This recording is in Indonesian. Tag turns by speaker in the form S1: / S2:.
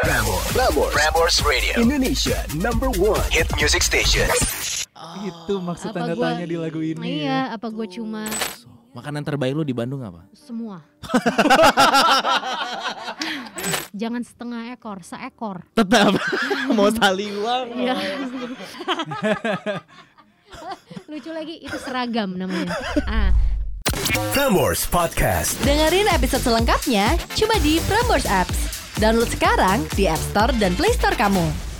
S1: Prambors. Prambors. Prambors Radio. Indonesia number one hit music station.
S2: Itu maksud
S3: Apa
S2: tanda
S3: gua-
S2: tanya di lagu
S3: Nah,
S2: ini.
S3: iya, apa gue cuma
S4: Makanan terbaik lu di Bandung apa?
S3: semua. Jangan setengah ekor, seekor.
S4: Tetap mau saliwang.
S3: Iya. Lucu lagi itu seragam namanya. Ah,
S1: Prambors Podcast.
S5: Dengerin episode selengkapnya cuma di Prambors Apps. Download sekarang di App Store dan Play Store kamu.